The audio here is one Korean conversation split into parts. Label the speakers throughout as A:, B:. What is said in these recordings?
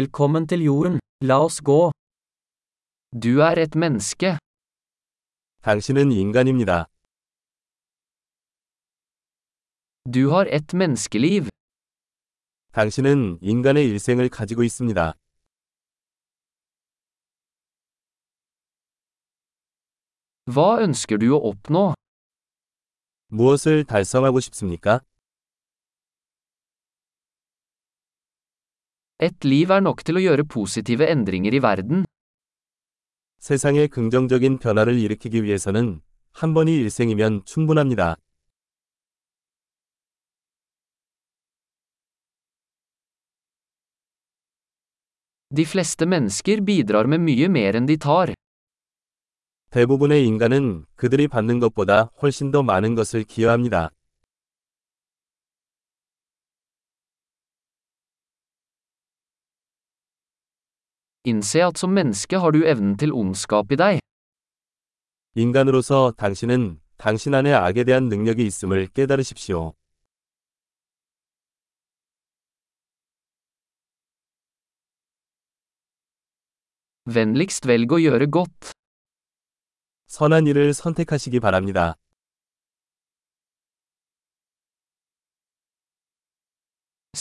A: Velkommen til jorden, la oss gå. Du er et menneske.
B: 당신은 인간입니다.
A: Du har et menneskeliv.
B: 당신은 인간의 일생을 가지고 있습니다.
A: Hva ønsker du å oppnå?
B: 무엇을 달성하고 싶습니까?
A: Et liv er nok til å gjøre positive endringer i verden.
B: 세상에 긍정적인 변화를 일으키기 위해서는 한 번이 일생이면 충분합니다.
A: De fleste mennesker bidrar med mye mer enn de tar.
B: 대부분의 인간은 그들이 받는 것보다 훨씬 더 많은 것을 기여합니다.
A: Innse at som menneske har du evnen til ondskap i deg.
B: 인간으로서 당신은 당신 안에 악에 대한 능력이 있음을 깨달으십시오.
A: Vennligst velg å gjøre godt.
B: 선한 일을 선택하시기 바랍니다.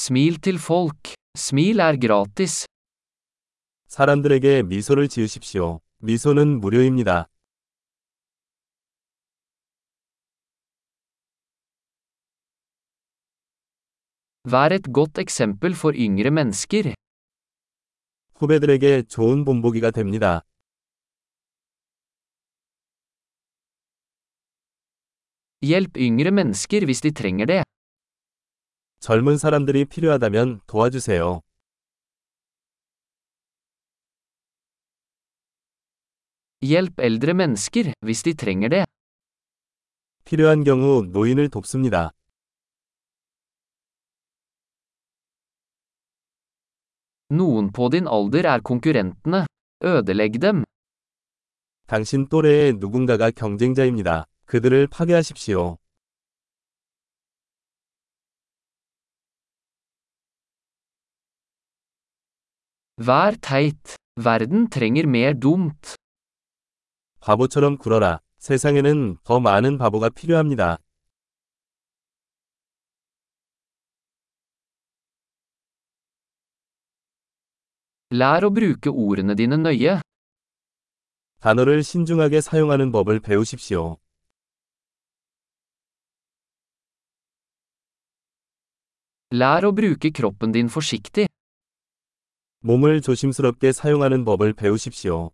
A: Smil til folk. Smil er gratis.
B: 사람들에게 미소를 지으십시오. 미소는 무료입니다.
A: Vær et godt eksempel for yngre mennesker.
B: 후배들에게 좋은 본보기가 됩니다.
A: Hjelp yngre mennesker hvis de trenger det.
B: 젊은 사람들이 필요하다면 도와주세요.
A: Hjelp eldre mennesker hvis de trenger det.
B: 필요한 경우 노인을 돕습니다.
A: Noen på din alder er konkurrentene. Ødelegg dem.
B: 당신 또래의 누군가가 경쟁자입니다. 그들을 파괴하십시오.
A: Vær teit. Verden trenger mer dumt.
B: 바보처럼 굴어라. 세상에는 더 많은 바보가 필요합니다.
A: Lær å bruke ordene dine nøye.
B: 단어를 신중하게 사용하는 법을 배우십시오.
A: Lær å bruke kroppen din forsiktig.
B: 몸을 조심스럽게 사용하는 법을 배우십시오.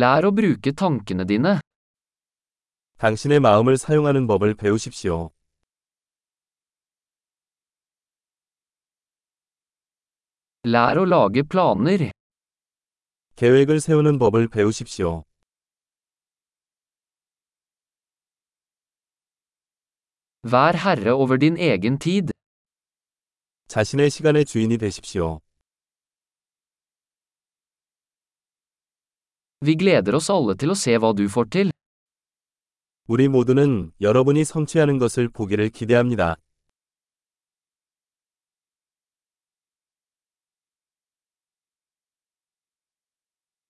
A: Lær å bruke tankene dine.
B: 당신의 마음을 사용하는 법을 배우십시오.
A: Lær å lage planer.
B: 계획을 세우는 법을 배우십시오.
A: Vær herre over din egen tid.
B: 자신의 시간의 주인이 되십시오.
A: Vi gleder oss alle til å se hva du får til.
B: 우리 모두는 여러분이 성취하는 것을 보기를 기대합니다.